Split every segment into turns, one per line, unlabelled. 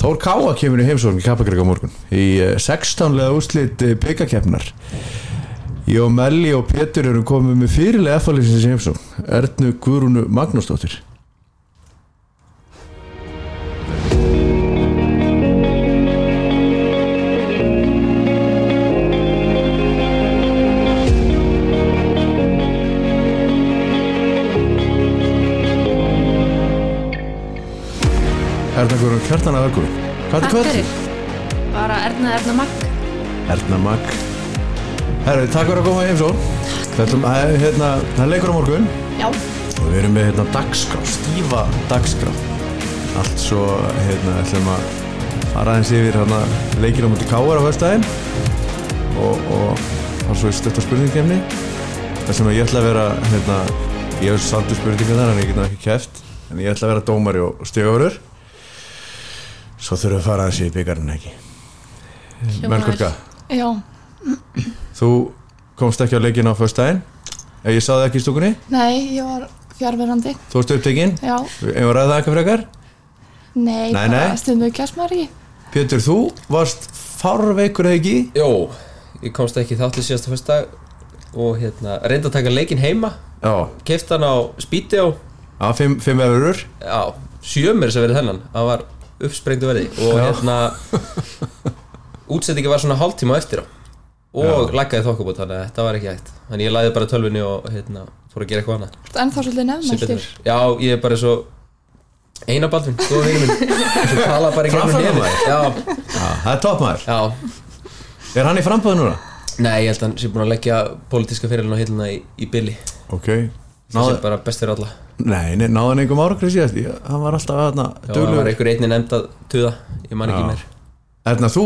Þór Káa kemur í heimsókn í Kappagreik á morgun í eh, 16-lega úrslit eh, byggakefnar Ég og Melli og Pétur erum komið með fyrirlega efalýsins í heimsókn Ernu Guðrúnu Magnúsdóttir Erna Guðrún Kjartan að velkomin Hvað er
Takk
hvað?
fyrir Bara Erna Erna Magg
Erna Mag Herru, takk fyrir að koma í heimsókn Það ætlum- það er hérna, það er leikur á morgun
Já,
og við erum með hérna dagskrá, stífa dagskrá allt svo hérna ætlum að fara aðeins yfir hérna leikir á múti káar á höfstæðin og, og það er svo í stötta spurningkefni það sem að ég ætla að vera hérna, ég hef sandu spurningar þar en ég get nú ekki kæft en ég ætla að vera dómari og stigaförur svo þurfum við að fara aðeins yfir byggarinn ekki
Hljómar
Melkorka,
já,
þú komst ekki á leikinu á höfstæðin ég sá það ekki í stúkunni,
nei, ég var fjárverandi
þú varst upptekinn
Já,
ef að ræða það eitthvað frekar
nei,
Nei,
bara
nei.
stundum kjast maður í
Pétur, þú varst fárveikur eða ekki?
Jó, ég komst ekki í þátt til síðasta fyrsta og hérna, reyndi að taka leikinn heima
Já,
kefti hann á spíti á
á fimm, fimm efurur
já, sjömur sem verið þennan hann var uppsprengdu verði og
Já.
hérna útsendingi var svona hálftíma eftir á og lækkaði þokkabót þannig að þetta var ekki hægt þannig ég læði bara tölvinni og hérna, fór að gera eitthvað annað
Þú ert ennþá svolítið
sem betur
nefnmæltur
fer. Já, ég er bara svo Einar Baldvin, góða vinur minn sem tala bara í gegnum
Framfærum
nefið Já,
Já, það er topp maður
já,
Er hann í frambúð núna?
nei, ég held að hann sé búin að leggja pólitíska fyrirlun á hilluna í, í billi
Ok
sem sé
Náð,
bara best fyrir alla
Nei, nei, náði hann einhverjum árangri síðast Ég- Hann var alltaf aðna
Já, það var
duglur
einhver einni nefnd að tuða Ég man ekki
Já.
mér
Erna, þú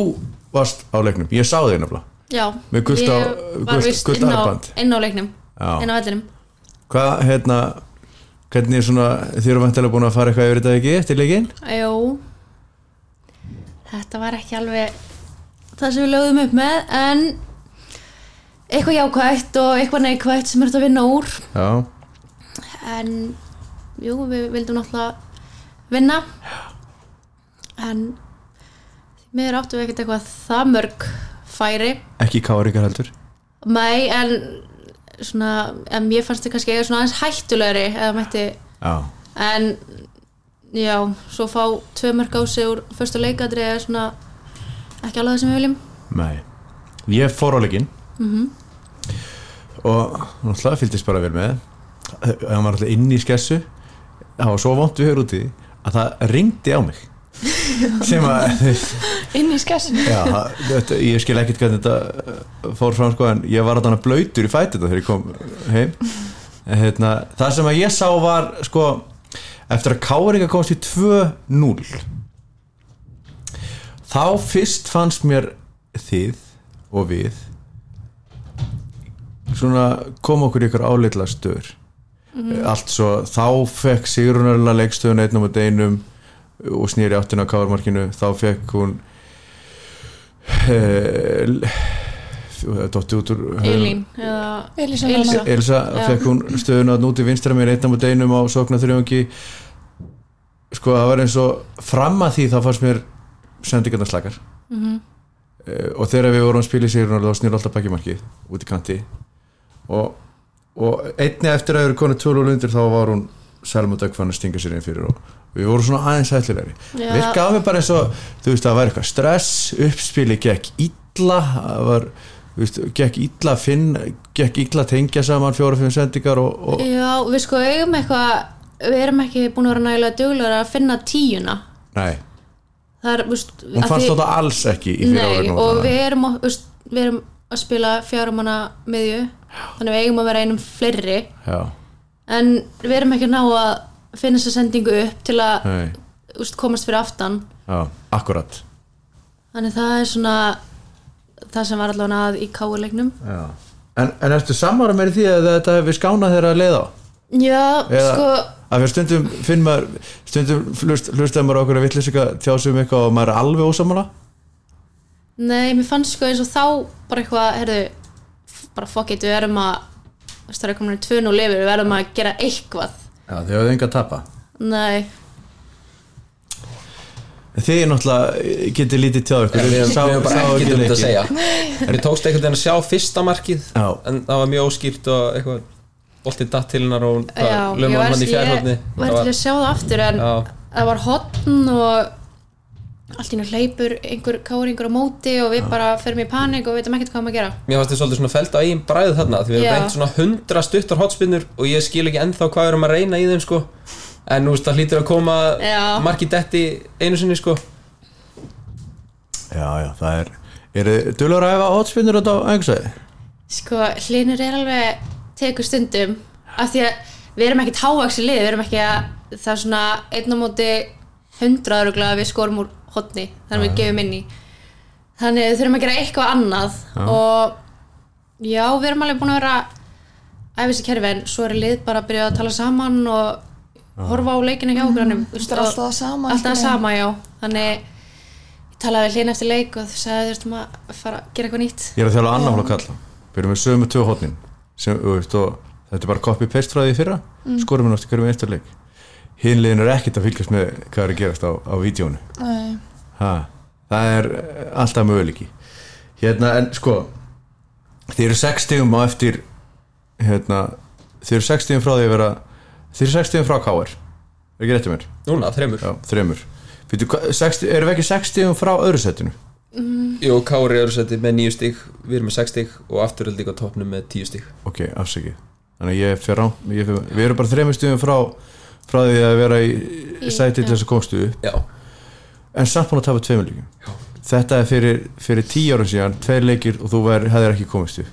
varst á leiknum Ég sá þig nefnilega
Já,
Með gult á-
ég var
gult-
vist
gult
inn á,
armband.
inn á leiknum
Já.
inn á vellinum
Hvað, hérna Hvernig svona, þið eru vantilega búin að fara eitthvað yfir þetta ekki eftir leikinn?
Jó Þetta var ekki alveg það sem við lögðum upp með en eitthvað jákvætt og eitthvað neikvætt sem er þetta að vinna úr
Já
en jú, við vildum náttúrulega vinna en því miður áttum við ekkert eitthvað það mörg færi
Ekki káar ykkar heldur
mæ en svona, en mér fannst þið kannski eða svona aðeins hættulegri eða mætti
Já
en já, svo fá tvö mörg á sig úr fyrsta leikadri er svona ekki alveg það sem við viljum
Nei, ég fór á leikinn og náttúrulega fylgdist bara vel með Ef hann var alltaf inn í skessu það var svo vont við höfum úti að það ringdi á mig sem að
Inn í skessin
já, það- þetta, ég skil ekkert hvernig þetta uh, fór fram sko en ég var alltaf blöytur í fæti þetta þegar ég kom heim En, hérna, það sem að ég sá var sko eftir að Káringa komst í 2-0 þá fyrst fannst mér þið og við svona kom okkur í ykkur áleitla stöður Eh, allt svo þá fekk Sigrunarla leikstöðun einnum og deinum og snýri áttina á káarmarkinu þá fekk hún eh, dotti út úr höfðinu.
Elín eða
Elísa
Elísa.
Nanna.
Elsa
Já.
fekk hún stöðun að núti vinstra mér einnum og deinum á sokna þrjóngi sko það var eins og fram að því þá fannst mér sendingarnar slakar Eh, og þegar við vorum að spila í sigurinn þá snýr alltaf bakjumarkið út í kanti og, og einni eftir að eru konu tölur lundir þá var hún Selma Dögg fann að stinga sér inn fyrir og við vorum svona aðeins ætlilegri
Já.
virkaði á mig bara eins og þú veist það var eitthvað stress uppspili gekk illa það var þú veist, gekk illa að finn gekk illa að tengja saman fjóra-fimm sendingar og, og
já, við sko eigum eitthvað við erum ekki búin að vera nægilega duglegur að finna tíuna
nei,
það er, veist
hún
að
fannst
því-
þetta alls ekki í fyrir
nei, og við erum, að- veist, við erum að spila fjáramanna miðju þannig við eigum að vera einum fleiri
já,
en við erum ekki að ná að finna þessa sendingu upp til að
nei,
veist, komast fyrir aftan
já, akkurat
Þannig það er svona það sem var allavega að í káuleiknum.
en, en ertu sammára meiri því að þetta hefur skánað þeirra að leiða á
Já,
Eða-
sko,
að fyrir stundum finn maður stundum hlust, hlustaði maður á okkur að vitlis eitthvað tjási um eitthvað og maður er alveg ósamála
nei, mér fannst sko eins og þá bara eitthvað, heyrðu, f- bara fuck it, við erum að, þú veist, það er komin í 2-0 yfir, við erum að gera eitthvað.
já, þau hafðu enga að tapa
Nei,
Þið er náttúrulega eh, getið lítið tjáð ykkur
Við
Sá-
hefum bara
sáu
ekki um þetta
leikinn.
að segja Við tókst einhvern veginn að sjá fyrsta markið
Já.
En það var mjög óskýrt og eitthvað Boltið datt til hennar og hún
Já, ég
lömur
var,
mann í
ég
fjærhóðni
var til að sjá það aftur en
Já,
það var hotn og allt í nú hleypur einhver káringur á móti og við bara ferum í panik og veitum ekkert hvað maður að gera
mér fannst þið svolítið svona felt á eigin bræðu þarna Því við
Já.
hefum reynt svona hundra stuttar hotspinnur Og ég skil ekki ennþá hvað við erum að reyna í þeim sko En nú veist það hlýtur að koma
Já.
markið detti einu sinni sko
Já, já, það er Eru þið dulur að hefa hotspinnur út á æfingsvæði?
Sko, hlinur er alveg tekur stundum af því að við erum ekkert hávaksi lið, við erum ekki að það er svona einn á móti hundraður og glæða við skorum úr hotni þannig að við gefum inn í þannig að við þurfum að gera eitthvað annað og já, við erum alveg búin að vera að æfisa kerfi en svo er lið bara að byrja að tala saman og horfa á leikina hjá okkur mm.
Þetta er alltaf sko. það sama,
alltaf það
einhvern veginn.
sama, já þannig ég talaði við hlinn eftir leik og þú sagði þú þurftum að fara að gera eitthvað nýtt
Ég er að þjála annan flokk kalla Við erum með sömu tvö hotnin sem, þú veist, og Þetta er bara copy-paste frá því í fyrra Skorum við náttúrulega hverjum einstur leik Hinlegin er ekkert að fylgjast með hvað er að gerast á, á vídjónu
Nei.
ha, Það er eh, alltaf möguleiki Hérna, en sko Þið eru 60 á eftir hérna, Þið eru 60 frá því að vera Þið eru 60 frá KR Er ekki rétti mér?
Núna, þremur
Já, þremur Fyrir, hva, 60, Erum við ekki 60 frá öðru setinu?
Jó, Kári öðru seti með nýju stík Við erum með sex stík og afturöldi á toppnum með tíu stík
Ok, afsakið Þannig að ég fer á ég fer, Við erum bara þremur stuðum frá frá því að vera í
Í,
sæti til
já.
þess að komstu upp
Já,
en samt búin að tapa tveimur líkum þetta er fyrir, fyrir tíu árum síðan tveir leikir og þú ver, hefðir ekki komist upp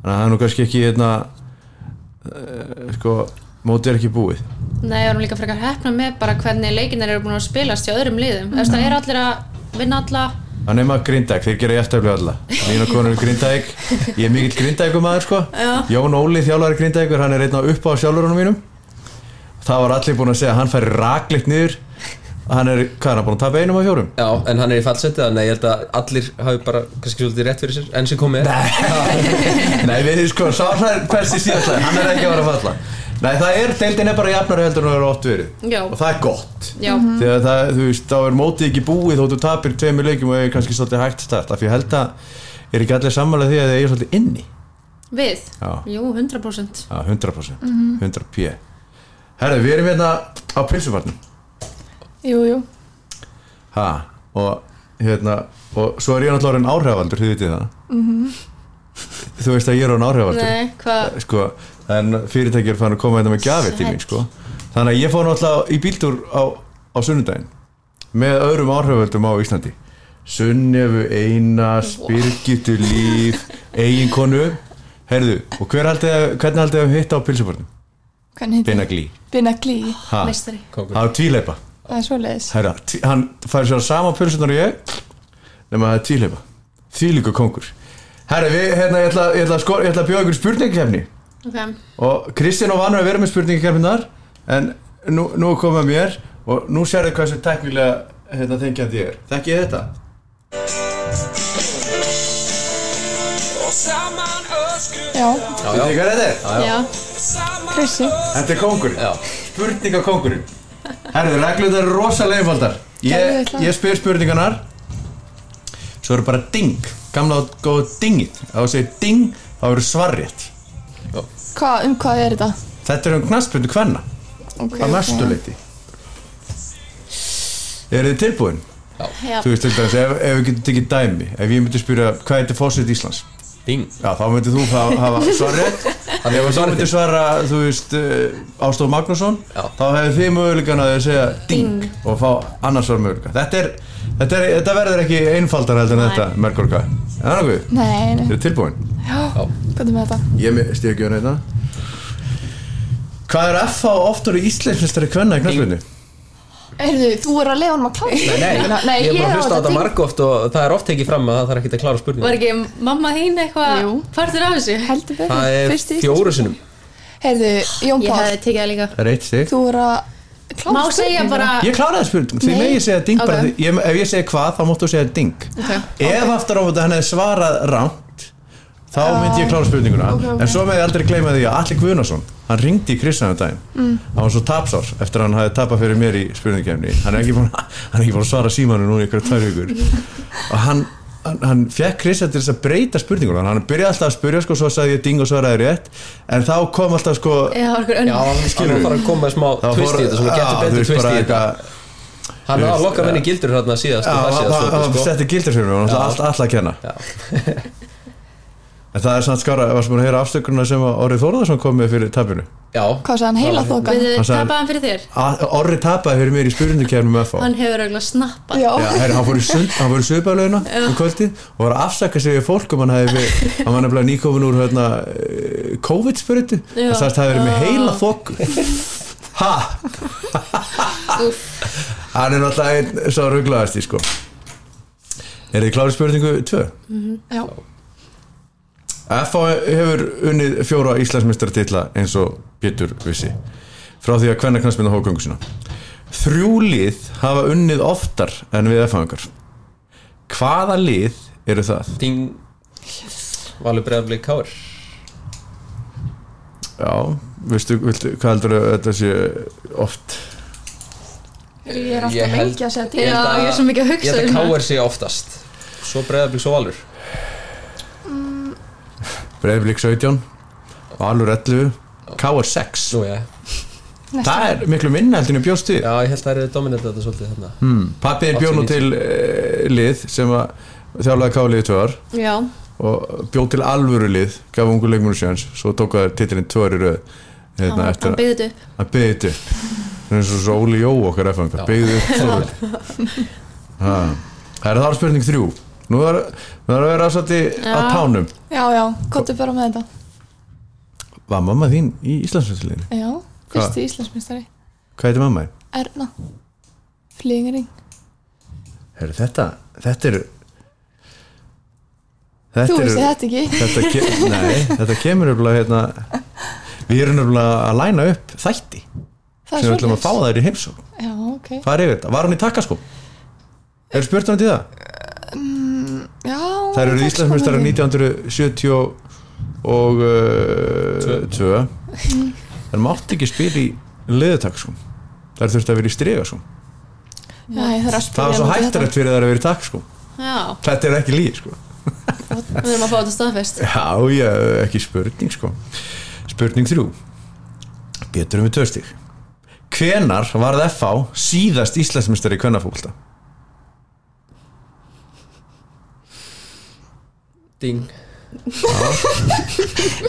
þannig að það er nú kannski ekki hérna, uh, sko, mótið er ekki búið
Nei, við erum líka frekar hefna með bara hvernig leikinar eru búin að spilast hjá öðrum liðum. Þú veist, það er allir að vinna alla.
Það nema Grindæk, þeir gera jæftaflega alla Mína konur er Grindæk Ég er mikill Grindækum maður sko
Já.
Jón Óli þjálfari Grindækur, hann er einn á upp á sjálfurunum mínum Það var allir búin að segja að hann færi rakleitt niður Hann er, hvað er hann búin að tapa einum af fjórum?
Já, en hann er í fallseti þannig að ég held að allir hafi bara kannski svolítið rétt fyrir sér enn sem komið er
Nei, við þið sko, sá hann er besti síðastlega Hann er ekki að vera að falla Nei, það er, deildin er bara jafnari heldur en það eru oft verið
Já.
Og það er gott
Já,
þegar það, þú veist, þá er mótið ekki búið þóttu tapir tveimur leikjum og er kannski svolítið hægt start af því ég held að er ekki allir sammála því að það er svolítið inni
við.
Já.
Jú, 100%.
Já, 100% 100p Herðu, við erum hérna á pilsufarnum
Jú, jú.
ha, og hérna og svo er ég náttúrulega orðin áhrifavaldur, þið vitið það Þú veist að ég er orðin áhrifavaldur
Nei, hvað?
sko, en fyrirtæki er fann að koma hérna með gjafir til mín, sko þannig að ég fór náttúrulega í bíltúr á, á sunnudaginn með öðrum áhriföldum á Íslandi Sunnefu, Einars, Birgitu Líf, eiginkonu Herðu, og hver haldið, að- hvernig haldið að hitta á pilsufarnum?
Hvernig heitir?
Beina glý
Binagli.
Ha,
Meistari.
það er tvíleipa
Það er svoleiðis.
Herra, tí, hann fær sér sama pulsunar og ég nema það er tvíleipa Þvílíku kongur Herra, við, hérna, ég ætla, ég ætla, að skor, ég ætla að bjóða ykkur spurningkefni
Ok.
og Kristján og Vanur að vera með spurningkefninar en nú, nú koma mér og nú sérðu hversu teknilega hérna, þengjandi ég er Þekki ég þetta?
Já,
Þið þið hvað þetta er?
Já.
Krissi.
Þetta er kongurinn
Já.
Spurningakongurinn Herðu, reglurnar eru rosalega einfaldar
Gerðu
ég,
það.
ég spyr spurningarnar Svo eru bara ding Gamla og góð dingið Ef þú segir ding, þá eru svarrétt
Hva, um hvað er þetta?
Þetta er um knastbundu hvenna
Okay,
Að mestu leyti Eru þið tilbúin?
Já.
Þú veist til dæmis, ef, ef við getum tekið dæmi Ef ég myndi spyrja, hvað heitir fósitt Íslands?
Ding
Já, þá myndið þú hafa, hafa svarrétt Ef
Hann hefur
þú
svarið
myndir
þér
svara, þú veist, uh, Ástof Magnússon
Já.
þá hefur þið mögulegan að þið segja ding, og fá annars var mögulegan þetta, er, þetta, er, þetta verður ekki einfaldar heldur en
Nei.
þetta, merkurka Það er nokkuð,
Nei, nei.
þið er tilbúin
Já, hvað er með þetta?
Ég með stíðgjöðan þetta Hvað er FH oftur í Íslandsmestari kvenna í knallbunni?
Heyrðu, þú er að leiða honum að klára.
Nei, nei,
nei,
ég er bara
á
að hlusta á þetta
ding.
margóft og það er oft tekið fram að það er ekkert að klára spurningu
Var ekki mamma þín eitthvað
Jú.
partur af þessu?
Heldur betur.
Það er
fyrsti íslenski.
fjóru sinum
Heyrðu, Jón
Ég
Pál,
hefði tekið það líka.
Það er eitt sig
þú er að klára
Má segja
spurninguna.
bara...
Ég kláraði spurningum, því
Nei.
með ég segja ding bara,
Ah. Ok.
því- ég, ef ég segja hvað þá máttu segja ding
Ok.
Ef aftur á þetta hann hefði svarað rámt þá myndi ég klára spurninguna
ok, ok.
en svo með ég aldrei gleyma því að Alli Guðnason hann ringdi í Kristján um daginn mm. hann var svo tapsár eftir að hann hafi tapað fyrir mér í spurningkefni hann er ekki búin, hann er ekki búin að svara símanu núna í ykkur tvær vikur og hann, hann, hann fekk Kristján til þess að breyta spurningunum hann byrjaði alltaf að spyrja sko svo sagði ég ding og svaraði rétt en þá kom alltaf sko
eða var okkur
Já,
önnur
hann skilur að fara að koma með smá
þá fór-
twist í þetta, svona
Já,
getur
þú
betur
veist,
twist
bara
í þetta
eitthvað-
Hann
þú
var að
veist,
lokka minni gildur hérna síðast
Já,
og það
það
síðast
það- það
svolítið,
setti gildur fyrir mér og
sko. Já.
alltaf alltaf að kenna
Já.
en það er samt skára, varst búin að heyra afstökunna sem að Orri Þórðarsson kom með fyrir tapinu
sko. Já,
Hvað sagði hann heila þóka?
við
Hann sagði-
tapaði hann fyrir þér
Að- Orri tapaði fyrir mér í spurningkefni með FH
hann hefur auðvitað snappað
Já,
Já, herri, hann fór í sund, hann fór í sögbaðlauna um kvöldið og var að afsaka sig við fólk um hann hefði verið, hann var nefnilega nýkofin úr hérna, eh, COVID-spyrutu
Já.
og sagðist það hefði verið með heila þokk ha hann er náttúrulega einn svo rugglaðast í sko er þið klári spurningu 2?
já,
FH hefur unnið fjóra Íslandsmyndstartitla eins og Pétur vissi frá því að hvernig knastmynda hókungu sína Þrjú lið hafa unnið oftar en við FH-ingar Hvaða lið eru það?
Ding Valur Breiðablík Káur
Já, veistu, viltu, hvað heldur að þetta sé oft?
ég er
Ég
alltaf
held- Eh,
lengi að segja til
Já, ég er svo mikið að hugsa
Ég held
um
að
það.
Káur sé oftast Svo Breiðablík, svo Valur
Breiðblík 17 Valur 11 KR 6
Nú já,
Það er miklu minna heldur en ég bjóst við
já ég held að það eru dominant þetta svolítið þarna
Mm. Pappi er bjóð nú til uh, lið sem að þjálfaði káliði tvöar
já,
og bjóð til alvöru lið gaf ungu leikmunu sjans svo tók það titlinn tvöar í röð
hann,
hérna, eftir
hann
að-
byggði þetta upp
að byggði þetta upp. það er eins og svo Óli Jó okkar
Já.
FN byggði upp svo vel Ha. það er það spurning þrjú nú er það er að vera svolítið á
Já.
tánum
Já, já, komdu bara með þetta
var mamma þín í Íslandsfjöldsliðinu?
Já, fyrsti Íslandsmeistari
hvað heitir mamma þín?
Erna Flygingring
Heru, þetta, þetta er þetta
Þú
er-
veist þetta ekki
þetta, ke nei, þetta kemur öfnilega hérna, við erum öfnilega að læna upp þætti
Það
sem
er
við ætlum að fá
svoleiðis.
þær í heimsókn
Já, ok
hvað er yfir þetta, var hún í takkaskó? eru spurt hann til það?
Já,
Það eru
takk,
Íslandsmeistarar
sko,
1970 og uh, tvö Það mátti ekki spila í liðutakskum Það er þurfti að vera í stregaskum
Nei, það
Það
er að
var
spyrja
svo
mig þetta.
hættarett fyrir það að vera í takskum
já,
Þetta er ekki líð sko
við erum að fá þetta staðfest
Já, já, ekki spurning sko Spurning þrjú Betur um við töstig Hvenar varð FH síðast Íslandsmeistari í kvennafólta?
Ding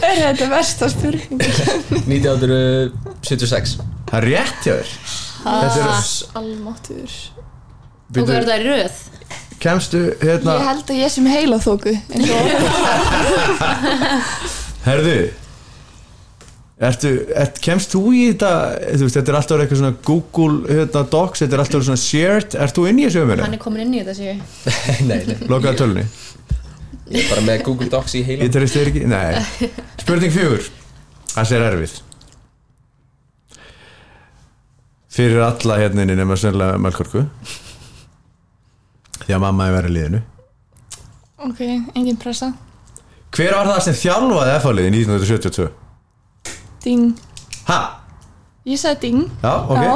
Er þetta versta spurning?
1976
Það er rétt hjá þér Þetta er
Almatur
og hvað er
Bíddu,
þetta í röð
Kemstu hérna
Ég held að ég sem heila þóku eins og
Herðu Ertu, ert, kemst þú í þetta þú veist, þetta er alltaf eitthvað svona Google hérna, Docs, þetta er alltaf svona shared ert þú inn í þessu
hann
umverðinu?
er komin inn í þetta séu
Nei, nei,
Lokaða tölunni,
ég er bara með Google Docs í heila
ég treysti þér ekki Nei, spurning fjögur Það er erfið Fyrir alla hérna inni nema sérlega Melkorku Því að mamma er verið í liðinu
Ok, engin pressa
Hver var það sem þjálfaði F-liðin 1972?
Ding
Ha?
Ég sagði ding
Já, ok
Já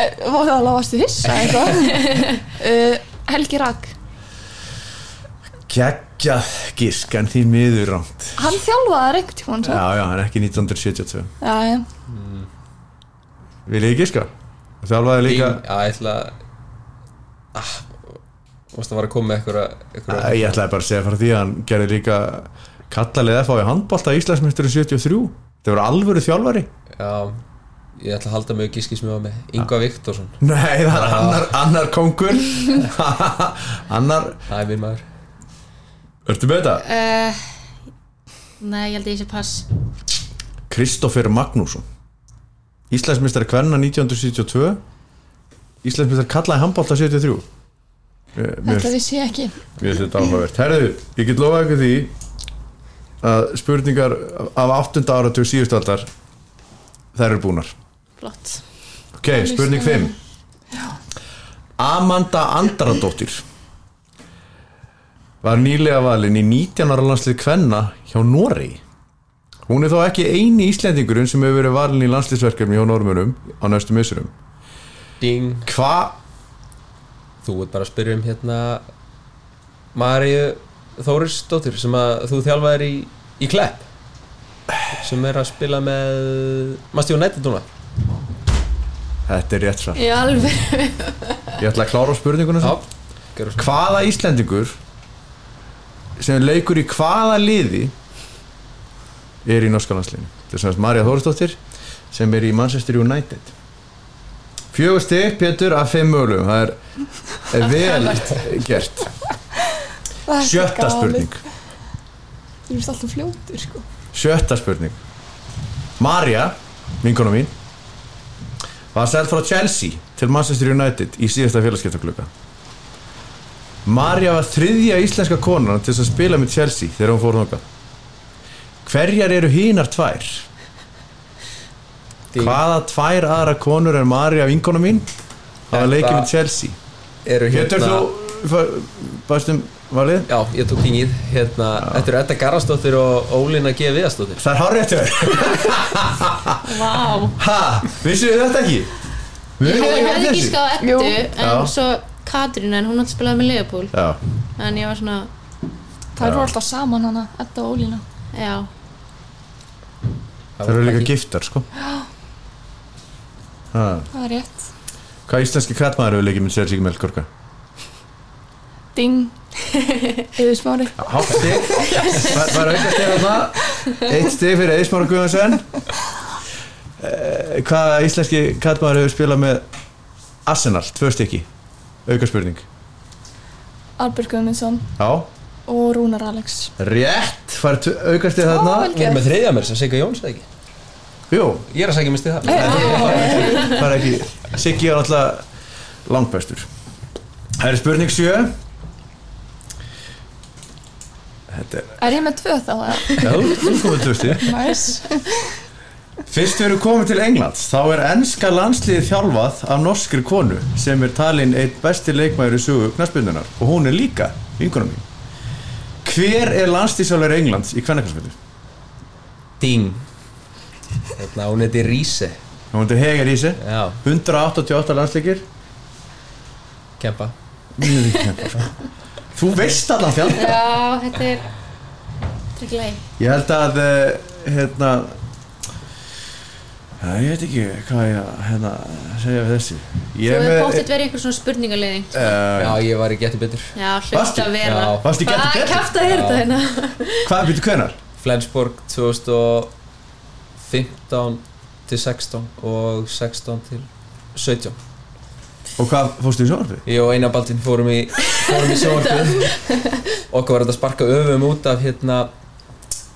Eh, Var það alveg varstu hissa eitthvað uh, Helgi Rak
Kekjað gísk en því miður rámt
Hann þjálfaði þær einhvern tímann svo
Já, já, hann er ekki 1972
Já, já
Vil ég gíska? Þjálfaði
Ding,
líka
já, ég ætla að ah, Mást að vara að koma með einhverja
Æ,
einhverja-
Ég ætlaði bara að segja fyrir því að hann gerði líka kallalið FH í handbolta Íslandsmyndsturinn 73 Það voru alvöru þjálfari
Já, ég ætla að halda mig og gíski sem ég var með Ingvar Viktorsson,
Nei, það er annar, annar kongur Annar
það er minn maður
Ertu með þetta?
uh, nei, ég held að ég sé pass
Kristoffer Magnússon Íslandsmyndstari kvenna 1972 Íslandsmyndstari kallaði handbolta 73 Eh, Mér
Þetta vissi ég ekki
Mér finnst þetta áhugavert. Herðu, ég get lofað ykkur því að spurningar af 8. áratug síðustu aldar þær eru búnar.
flott
Ok, spurning 5. Amanda Andaradóttir var nýlega valin í 19. ára landslið Kvenna hjá Noregi. Hún er þó ekki eini Íslendingurinn sem hefur verið valin í landslýsverkefni hjá normunum á næstu missurum.
Ding
Hva?
Þú ert bara að spyrja um hérna Maríu Þórisdóttir sem að þú þjálfaðir í, í Klepp sem er að spila með Masti United núna
Þetta er rétt svar.
Í alveg
Ég ætla að klára á spurningunum
Já,
sem.
gerðu svo.
Hvaða Íslendingur sem leikur í hvaða liði er í norska landsliðinu? Þetta er semast Marja Þórsdóttir sem er í Manchester United. Fjögur stygg, Pétur, af fimm mögulegum. Það er vel gert.
Það er svo
Sjötta
galið.
spurning.
Þú veist alltaf fljótur sko
Sjötta spurning Marja, vinkona mín var seld frá Chelsea til Manchester United í síðasta félagskiptagluga Marja var þriðja íslenska konan til þess að spila með Chelsea þegar hún fór þangað Hverjar eru hinar tvær?
Ding.
Hvaða tvær aðra konur er Marja, vinkona mín? Það var leikið
Þetta-
með Chelsea
Eru
Getur
hérna-
þú Bæstum valið?
Já, ég tók dingið hérna, Þetta eru Edda Garastóttir og Ólína G. Viðastóttir
Það er hárréttur
Vá
Ha, vissu þið þetta ekki? Við
Ég
vitum
hefði
þetta
ekki skáð
Jú.
ettu
Já.
en svo Katrín en hún átti að spila með Leopold
Já,
en ég var svona,
Það
Já.
eru alltaf saman hana, Edda og Ólína
já
það eru líka giftar sko ha.
Það er rétt
Hvað íslenski kratmaður hefur leikið með Chelsea Melkorka?
Ding Yfir smári
Hátt stig Það var auka stig þarna Eitt stig fyrir Eismar Guðansen Hvaða íslenski kratmaður hefur spilað með Arsenal, tvö stykki Auka spurning
Albert Guðmundsson
Já,
og Rúnar Alex
rétt, fær auka stig
vel
þarna
Við erum með þriðja mér sem Sigga Jóns eða ekki
Jú,
Ég er að segja mér stið það
það er ekki Siggi er alltaf langbæstur Það er spurning 7 Þetta er
Er ég með tvö þá?
Já, þú komið tvösti
Næs
Fyrst við erum komið til Englands þá er ennska landsliðið þjálfað af norskri konu sem er talin eitt besti leikmæður í sögu knarspindunar og hún er líka vingunum mín Hver er landsliðsjálfur Englands í kvennakarsmyndu?
Ding hérna, Hún heiti Ríse
Hún er hegar í sig
Já,
188 landsleikir
kempa
Þú veist allan þjálf
Já, þetta er Þetta er glæð
Ég held að eh, hérna ja, ég veit ekki hvað ég að hérna, segja við þessu
Þú
Ég er
hefur
með e-
bóttið verið einhver svona spurningaleiðing
uh,
Já, ég var í getur betur
Já,
Varstu?
hlusta að vera
Já.
Varstu í Getur
Hvað
Betur?
kjafta er þetta
Já.
hérna?
Hvað byrju hvenar?
Flensborg 2015 til 16 og 16 til 17
Og hvað fórstu í sjónarfi?
Ég og Einar Baldin fórum í, fórum í sjónvarpið Okkur var þetta að sparka öfum út af hérna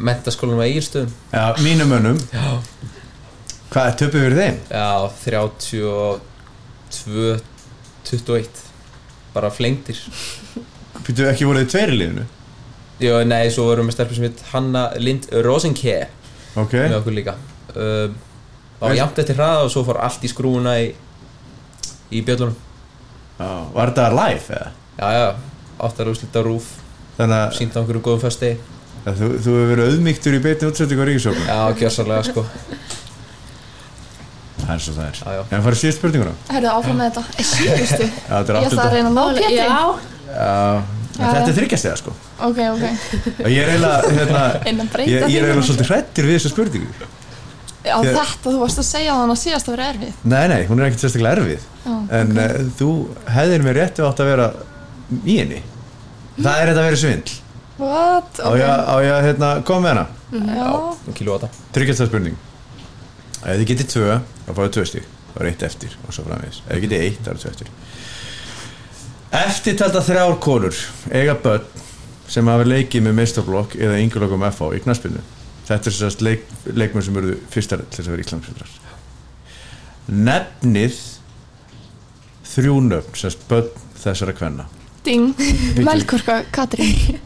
mentaskólanum að Egilstöðum
Já, mínum önum
Já
Hvað er töpuð fyrir þeim?
Já, 32 21 Bara flengtir
Byrju ekki voruð þið tveir í liðinu?
Jó, nei, svo vorum við með stelpur sem hitt Hanna Lind Rosenke
Ok,
með okkur líka um, Það var
Veist-
jafnt eftir hraða og svo fór allt í skrúuna í, í bjöllunum
Já, var þetta live eða?
Já, já, áttar úrslit á rúf
Þannig
Sýnda okkur um góðum fösti
að þú, þú hefur verið auðmygtur í beinni útsettingu á ríkisjókun
Já, gjörsalega sko
Það er svo það er
Já, já.
En farið síðast spurninguna?
Herðu áfram með þetta Sýkustu
Já, þetta er
Ég ætla að
aftur
reyna að ná Pétri
Já,
Já, en þetta er þryggjastega sko
Ok, ok
Ég er eiginlega, hérna
Innan
Ég,
breyta
ég er
því.
eiginlega svolítið hrættur við þessu spurningu
Já,
Ég-
þetta þú varst að segja þannig að síðast að vera erfið
Nei, nei, hún er ekkert sérstaklega erfið
Já,
En okay. þú hefðir mér rétt við átt að vera í henni Það er þetta að vera svindl
What?
Á ég að- á ég að hérna, koma með hana
Já,
Kilóta
Tryggjast það spurning Ef þið getið tvö, þá fáið tvö stík Það er eitt eftir og svo framvegis Ef þið getið eitt, þá er tvö eftir Eftir talda þrjár konur eiga börn sem hafa leikið með meistarblokk eða yngurlokum FH í knaspinu Þetta er sérst leik, leikmenn sem eru fyrstar til þess að vera íslamsfjöldrar Nefnið þrjú nöfn sérst börn þessara kvenna
ding Melkorka Katrín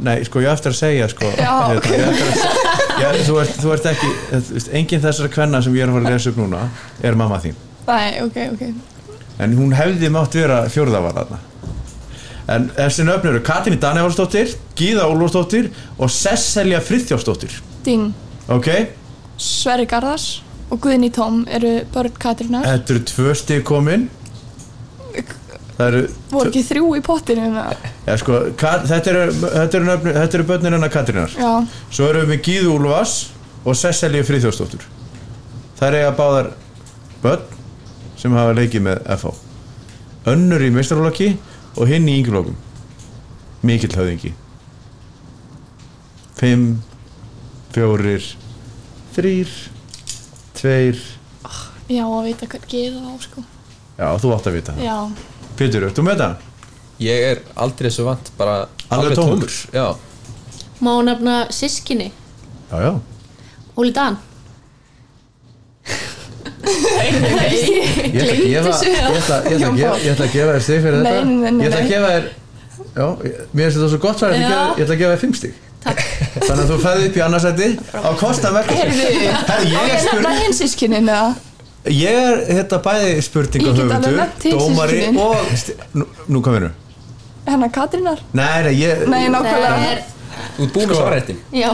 Nei, sko, ég á eftir að segja sko,
Já,
hérna, ég á eftir að, ég, þú, ert, þú ert ekki þú veist, engin þessara kvenna sem ég er að fara að lesa upp núna er mamma þín
Nei, ok, ok
en hún hefði mátt vera fjórðavarðarna en þessi nöfn eru Katrín Danefálsdóttir, Gíða Ólfsdóttir og Sesselja Friðþjófsdóttir
Ding
Ok,
Sverri Garðars og Guðni Tóm eru börn Katrínar
þetta eru tvö stig komin Það eru
voru ekki þrjú í pottinu með það
ja, sko, Kat, Þetta eru, þetta eru, nöfn, þetta eru börnir hennar Katrínar
já,
Svo erum við með Gíðu Úlfars og Sesselju Friðjóðsdóttur Það er eiga báðar börn sem hafa leikið með FH Önnur í meistarlokki og hinn í yngirlokum Mikill höfðingi 5 4 3 2
já að vita hvað geða á sko
Já, þú átt að vita það
já,
Pétur, ertu með það?
Ég er aldrei svo vant bara
Alveg tómur.
Já,
Má nefna sískinni,
Já, já
Óli Dan
Ég ætla að gefa, ég ætla, ég ætla, að gefa- ég ætla að gefa þér stig fyrir
Nei,
þetta
nei, nei,
Ég ætla að
nei.
gefa þér Já, ég- mér finnst þetta svo gott svar Ég ætla að gefa- ég ætla að gefa þér fimm stig
Takk.
Þannig að þú ferði upp í annarsætti á kosta verkefni Herri, ég er
nefna
spurning
hins sískinnin eða
Ég er hérna bæði spurninga
Ég get alveg nefnt hin
Dómari
systkinin.
og sti- Nú, nú kom hérna
hennar Katrínar
Nei, nei, ég
nei,
Það
nákvæmlega
er,
þú ert búin með
Sko.
svarrættin
já,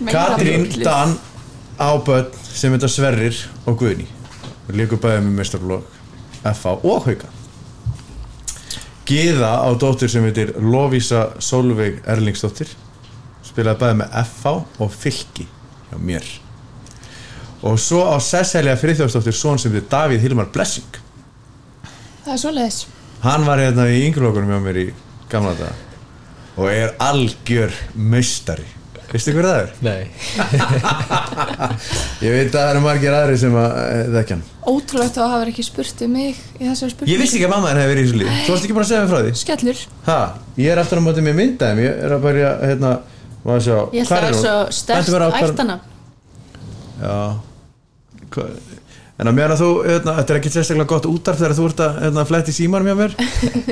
Meira
Katrín,
ruglið.
Dan, Áböld sem þetta Sverrir og Guðni og líka bæðið með mestarlokk F.A. og Hauka Gíða á dóttir sem heitir Lovísa Solveig Erlingsdóttir spilaði bæðið með F.A. og Fylki hjá mér og svo á Sesselja Friðjóðsdóttir son sem heitir Davíð Hilmar Blessing
það er svoleiðis
hann var hérna í yngurlokunum hjá mér í gamla daga og er algjör meistari veistu hver það er?
Nei
Ég veit að það eru margir aðri sem að eh, þekkja hann
ótrúlegt að það hafa ekki spurt um mig í þessari spurning
Ég vissi ekki að mamma henni hefði verið í þessu lífi Þú varst ekki bara að segja mér frá því
skellur
Ha, ég er aftur á móti með myndaðum Ég er að bæja, hérna, maður sjá
ég held að
hvar
það
er
er
hún?
svo
Bentu
sterkt
mér á hvar-
ættana
Já Hva? En að meðan að þú, hérna, þetta er ekki sérstaklega gott útarf þegar þú ert að hérna, fletti símanum hjá mér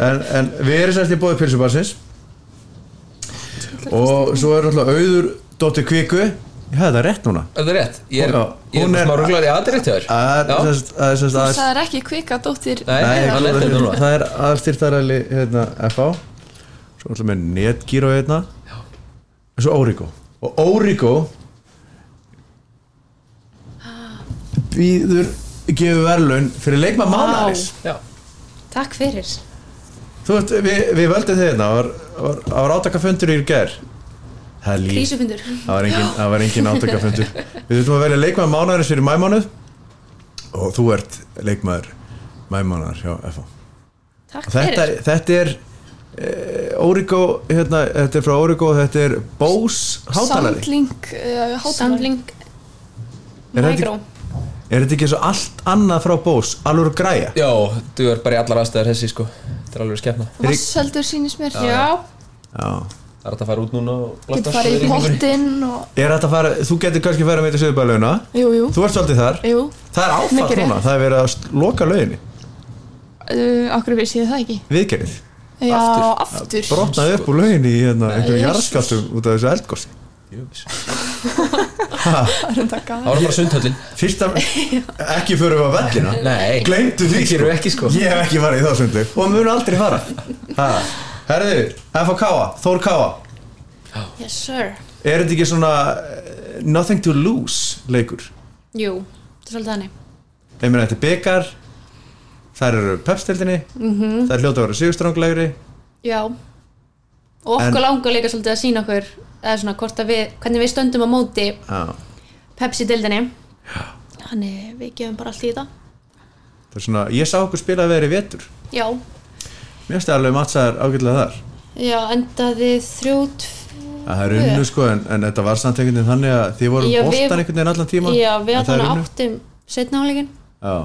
en, en við erum sérst í bóði pilsubarsins og svo er alltaf auður Dóttir Kviku Ég hefði það rétt núna
Er það rétt? Ég er,
Já,
ég er
hún er-
smá rugglar í aðrætt hjá þér
Það er
Já.
sérst- það er sérst
þú
aðeins
sagðir ekki kvika dóttir
Nei,
Nei,
hann er þetta
það,
núna
það er aðstyrtaræli hérna, FH svo alltaf með netgíru hérna og svo Origo og Origo býður gefur verðlaun fyrir leikma mánaðis
Já,
Takk fyrir
Þú veist, við, við völdum þið hérna það var, var, það var átakafundur í ger það er líf
Krísufundur
það var engin, það var engin átakafundur við þurfum að velja leikmaður mánaðarins fyrir mæmánuð og þú ert leikmaður mæmánaðar hjá FH
Takk
þetta,
fyrir
þetta er uh, Origo, hérna, þetta er frá Origo þetta er Bose hátalari
Soundlink uh, hátalari
Samling
Er þetta ekki-
Micro
er þetta ekki svo allt annað frá Bose alveg græja
já þú er bara í allar aðstæðar þessi sko Þetta er alveg skefna
Vasseldur sýnist mér
Já,
Já.
Það er hægt að fara út núna og
getur farið í pottinn og
er þetta að fara, þú getur kannski að fara með þetta söðbælauna
jú, jú,
þú ert svolítið þar
jú
það er
Mikið
áfall
rétt.
núna, það er verið að sl- loka lauginni
uh, okkur vissi ég það ekki
viðgerið,
já,
Aftur.
aftur,
brotnaði upp úr lauginni í hérna, einhverjum
Jesus.
jarðskattum út af þessu eldgósi
Það
það er enda gæð
var bara sundhöllin
fyrsta, ekki fyrir við á vellina
Nei
glemdu því
Gerum við ekki, sko.
ég hef ekki farið í þá sundu og mun aldrei fara ha. herðu, FHK, Þór Káa
yes sir
er þetta ekki svona eh, nothing to lose leikur
Jú, þetta er svolítið þannig
ég meina þetta er byggar þær eru pepstildinni mm -hmm.
Mhm.
þær hljóta að vera sigurstranglegri
Já Og okkur
En-
langar líka svolítið að sína okkur eða svona hvort að við, hvernig við stöndum á móti
ah,
Pepsi-dildinni Þannig við gefum bara allt í þetta
það er svona, ég sá okkur spila að vera í vetur
Já,
mér finnst það alveg mattsaðar ágætlega þar
já, endaði þrjú tv-
að það er unnu sko en, en þetta var samt einhvern veginn þannig að þið voru
Já, við-
bóttan einhvern veginn allan tíma
Já, við
en það er
allan
unnu.
áttum setna áleikin
já,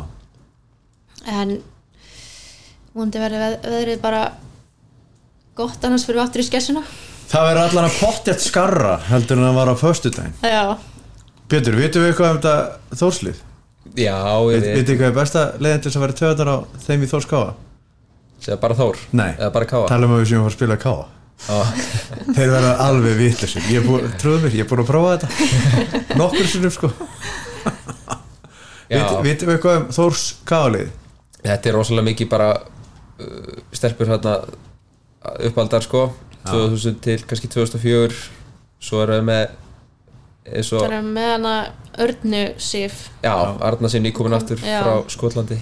en vonandi verður veð- veðrið bara gott annars fyrir við aftur í skessuna
það verður allan að pottjætt skarra heldur en það var á föstudaginn
Já,
Pétur, vitum við eitthvað um þetta þórslið?
Já, ég
Vitið
veit
þið hvað er besta leiðin til þess að vera töðanar á þeim í Þórskáa?
Segða bara Þór
Nei.
Eða bara Káa
Talum við sem um að fara að spila Káa
Já.
Þeir verða alveg vitlusir Ég er búin, trúðu mér, ég er búin að prófa þetta Nokkur sinnum sko
Já.
Vit- Vitum við eitthvað um Þórs Káalið?
Þetta er rosalega mikið bara uh, stelpur hérna uppaldar sko 2000 til kannski 2004 svo erum við með eins og,
þannig að með hana örnu sif
já, Arna sinni komin aftur
Já.
frá Skotlandi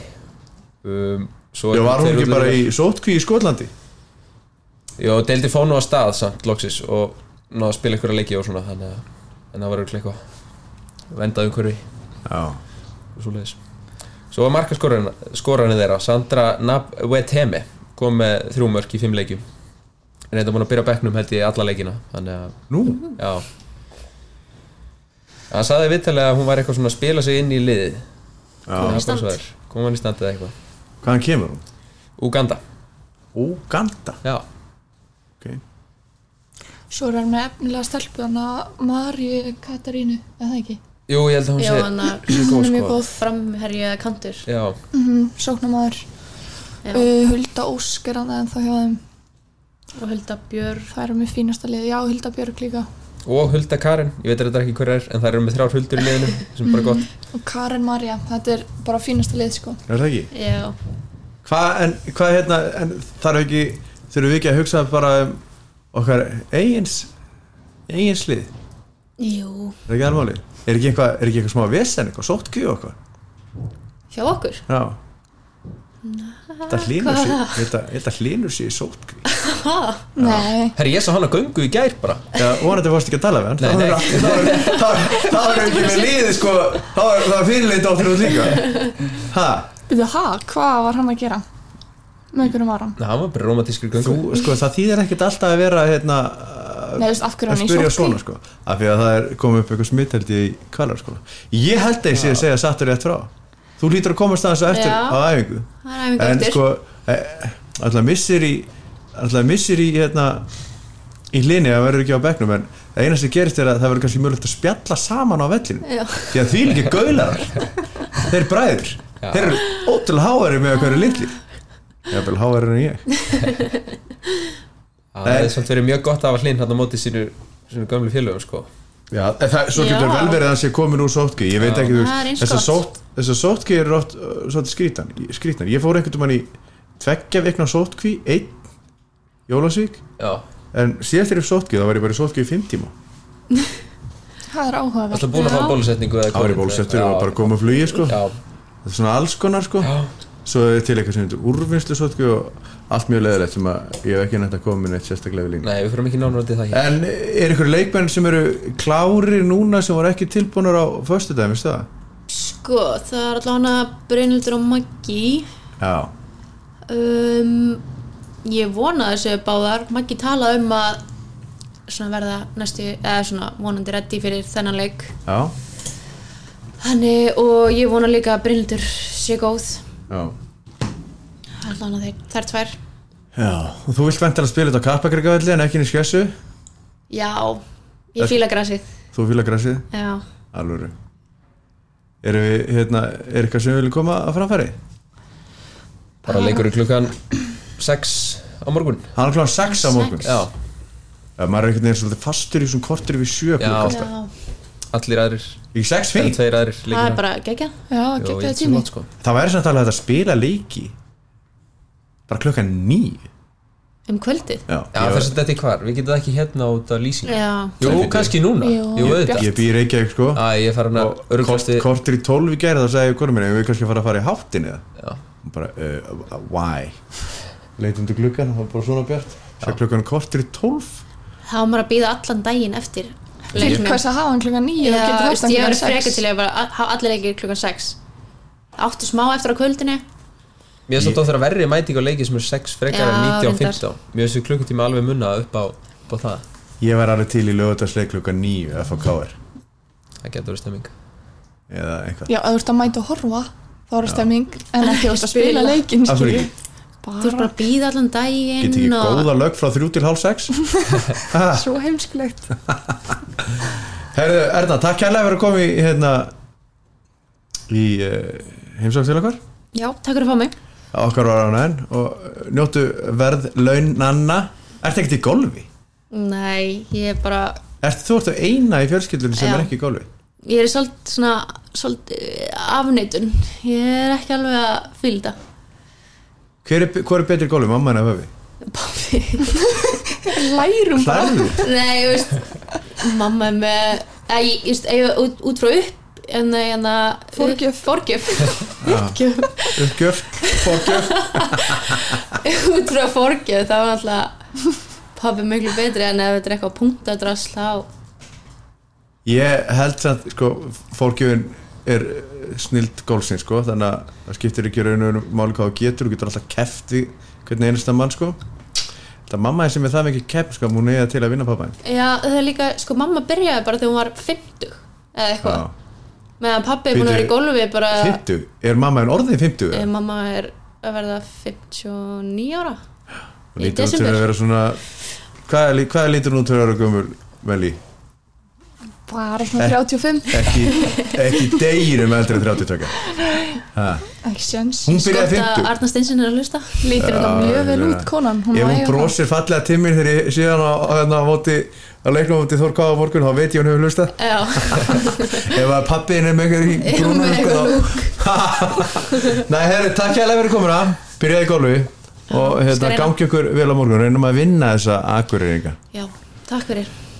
um, svo
Já, var hún
þeir
ekki
útlegur-
bara í sótkví í Skotlandi?
Jó, deildi fónu á stað samt loksis og náðu að spila einhverja leiki og svona þannig að, en það var auðvitað eitthvað vendað umhverfi
Já
og svo leiðis Svo var markaskorarinn þeirra Sandra Nabweteme kom með þrjú mörk í fimm leikjum en þetta búin að byrja á bekknum held ég alla leikina þannig að
Nú?
Já Hann saði viðtalega að hún var eitthvað svona að spila sig inn í liðið
Já.
í stand.
Kom hann í stand eða eitthvað
Hvaðan kemur hún?
Uganda
Úganda
Já
Ok
svo er hann með efnilega stelpu hann að Mari Katarínu eða ekki,
Jú, ég held að hún
Já,
sé
hann að-
hún
sé
er
sko.
mjög góð
framherja kantur
Já,
mm -hmm, sóknamaður
Já.
uh, Hulda Ósk er hann ennþá hjá þeim
og Hulda Björn
það eru með fínasta lið, já Hulda Björg líka
og Hulda Karin Ég veit þetta ekki hver er en það eru með þrjár Huldur í liðinu sem er bara gott
og Karen Marja, þetta er bara fínasta lið sko
Er það ekki?
Já,
Hvað, en hvað hérna, en þarf ekki, þurfum við ekki að hugsa bara um okkar eigins, eiginslið,
jú
er ekki almáli? Er ekki eitthvað, er ekki eitthvað smá vesen, eitthvað sótkvíu og eitthvað?
Hjá okkur
Já. Þetta hlýnur sér, þetta, þetta hlýnur sér í sótkvíu.
nei,
Herri, ég sá hann að göngu í gær bara
Já, vonandi fórst ekki að tala við hann.
Nei,
Það
nei.
var- Það var- það var- það var ekki með liðið, sko, það var, það var fyrirleitt á þér út líka. Ha,
byrðu ha, hvað var hann að gera með einhverjum var hann
Nei, hann var bara romantískur
þú,
göngu
sko, það þýðir ekkert alltaf að vera, hérna,
nei, þú veist, af hverju
að
hann í
spyrja svona
sókn
sko af því að það er komið upp eitthvað smitt held ég í kvalarskóla ég held að ég sé að segja satt og rétt frá þú lítur að komast aðeins á eftir
Já.
á æfingu
Það er æfingu
en
eftir.
sko eh, alltaf missir í alltaf missir í hérna í hlini að verður ekki á bekknum en það eina sem gerist er að það verður kannski mjög að spjalla saman á vellinu
Já.
því að því líka gaular þeir bræður
Já.
þeir eru ótrúlega háari með hverju litli ég er vel háari en ég
Það hefði svolítið verið mjög gott að hafa hlinn hann á móti sínu, sínu gömlu félögum sko
Já, en það, svo
Já.
getur vel verið að hann sé komin úr sótki Ég veit ekki, þú
Það er eins
þessar
gott.
sótt, þessa sótki er rátt svolítið skrítan, skrítan Ég fór einhvern veginn í tveggja vikna sótkví einn, jólasvík
Já
en síðast er ég sótki, þá var ég bara í sótki í fimm tíma
það er áhugaverð
Alltaf búin að fá
Já.
bólusetningu eða
Það var ég
COVID?
bólusettur
Já.
og bara koma að flugi sko.
Já,
þetta er svona alls konar sko.
Já.
svo er til eitthvað sem heitir úrvinnslu sótki og allt mjög leðilegt sem að ég hef ekki nætt að koma minn eitt sérstaklega við línu
nei, við fyrir ekki nánar til það hér
En er ykkur leikmenn sem eru klárir núna sem voru ekki tilbúinur á föstudagum, veistu það?
Sko, það er allavega hana Brynildur og Maggi
Já,
um, Ég vona þessu báðar Maggi tala um að svona verða næstu, eða svona vonandi reddi fyrir þennan leik
já,
Þannig, og ég vona líka að Brynildur sé góð
já
allan að þeir, þær tvær
Já, og þú vilt væntanlega spila þetta á kappakrikavelli en ekki inn í skjössu
Já, ég fíla grasið
Þú fýla græsið,
Já,
alvöru Erum við, hérna, er eitthvað sem við viljum koma að framfæri?
Bara leikur í klukkan 6 á morgun
Hann er kláðan 6 á morgun
Já,
Já, Eh, maður er einhvern veginn svolítið fastur í svona kortur við 7
Já.
klukka
já,
alltaf
allir aðrir
Ekki 6
En
fín?
tveir aðrir
það er
leikina
bara gegja
já,
Jú, ég
geggjaði
held sem
tími
látt, sko.
Það væri samt alveg hægt að spila leiki Bara klukkan 9
um kvöldið
Já,
Já,
ég,
þess að þetta er hvar, við getum það ekki hérna út af lýsing
Já,
Jú,
Nei,
kannski núna
Jú.
Jú, auðvitað
ég býr ekki ekki sko
Æ, ég fara hann að örglast við
Kortur í 12 í gæri þá segi ég hvernig minni Við erum kannski að fara að fara í háttin eða
Já.
Hún bara, uh, uh, why? Leitum til gluggan, það var bara svona bjart Svo klukkan kortur í 12
þá var maður að býða allan daginn eftir
til hvers að hafa hann klukkan nýju
Já,
og getur haft
veist,
hann
ég verið
klukkan
frekar
sex
til að bara að- hafa allir leikir klukkan 6 Áttu smá eftir á kvöldinu
Mér er svolítið að þeirra verri mæting á leiki sem er 6 frekar en
Já,
90 og
reyndar.
15 Mér finnst við klukkutíma alveg munna upp á, upp á það
Ég var alveg til í lögutarsleik klukka 9 FHKR
Það getur verið stemming
eða eitthvað
já, ef þú ert að mæta að horfa þá er það stemming en ekki þú ert að
Spila.
spila leikin
Af hverju ekki?
Þú ert bara að býða allan daginn
Get ekki
og-
góða lög frá 3 til hálf 6
svo heimskulegt
Herðu, Erna, takk kærlega fyrir að koma í hérna í uh, heimsók til okkar
Já, takk fyrir að fá mig
okkar var á næðin og eh, njóttu verð launanna Ertu ekkert í golfi?
Nei, ég er bara
Ertu þú ertu eina í fjölskyldunni sem
Já.
er ekki í golfi?
Ég er svolítið svona svolítið afneitun Ég er ekki alveg að fylgda
Hver er, hver er betri í golfi, mamma en að höfi?
Pabbi
lærum bara
Hlæðu?
Nei, ég veist Mamma er með eða ég, ég veist, ef- út, út frá upp en, en,
Forgjöf.
forgjöf.
Uppgjöf.
uppgjöf, fórgjöf
út frá forgjöf þá var alltaf pabbi miklu betri en ef þetta er eitthvað punktadrast þá
ég held samt, sko, fórgjöfin er eh, snild gólsinn, sko þannig að það skiptir ekki raunum máli hvað þú getur, þú getur alltaf keft við hvernig einasta mann, sko það mamma er sem er það mikið kepp, sko, hún er til að vinna pappa
Já, það er líka, sko mamma byrjaði bara þegar hún var 50 eða eitthvað, meðan pappi er búin að vera í
Bíddu,
gólfi bara,
50, er mamma en orðin 50?
eh, mamma er að verða 59 ára
Lítur
í
hún til
desember
að vera svona Hvað er, hvað er lítur hún til að vera gömul Veli?
Bara svona 35.
Ekki, ekki deginum eldri en 30 taka
Ekki sjans.
Hún
Gott
byrjaði
að
50
Arna Steinsson er að hlusta
Lítur þetta
Já,
mjög
ég
vel
meina,
út konan.
Ef
má
hún
eiga það.
brosir fallega til mér þegar ég sé hann á, hérna á móti að leikna á móti Þór Káa morgun þá veit ég hún hefur hlustað
Já,
Ef að pappiðin er með eitthvað
Er hún
brúnum
með eitthvað
lúk Nei, herri, takk hérlega fyrir komuna Byrjaði í golfi og
Skal
hérna,
reyna.
gangi okkur vel á morgun reynum að vinna þessa akureyringa
já, takk fyrir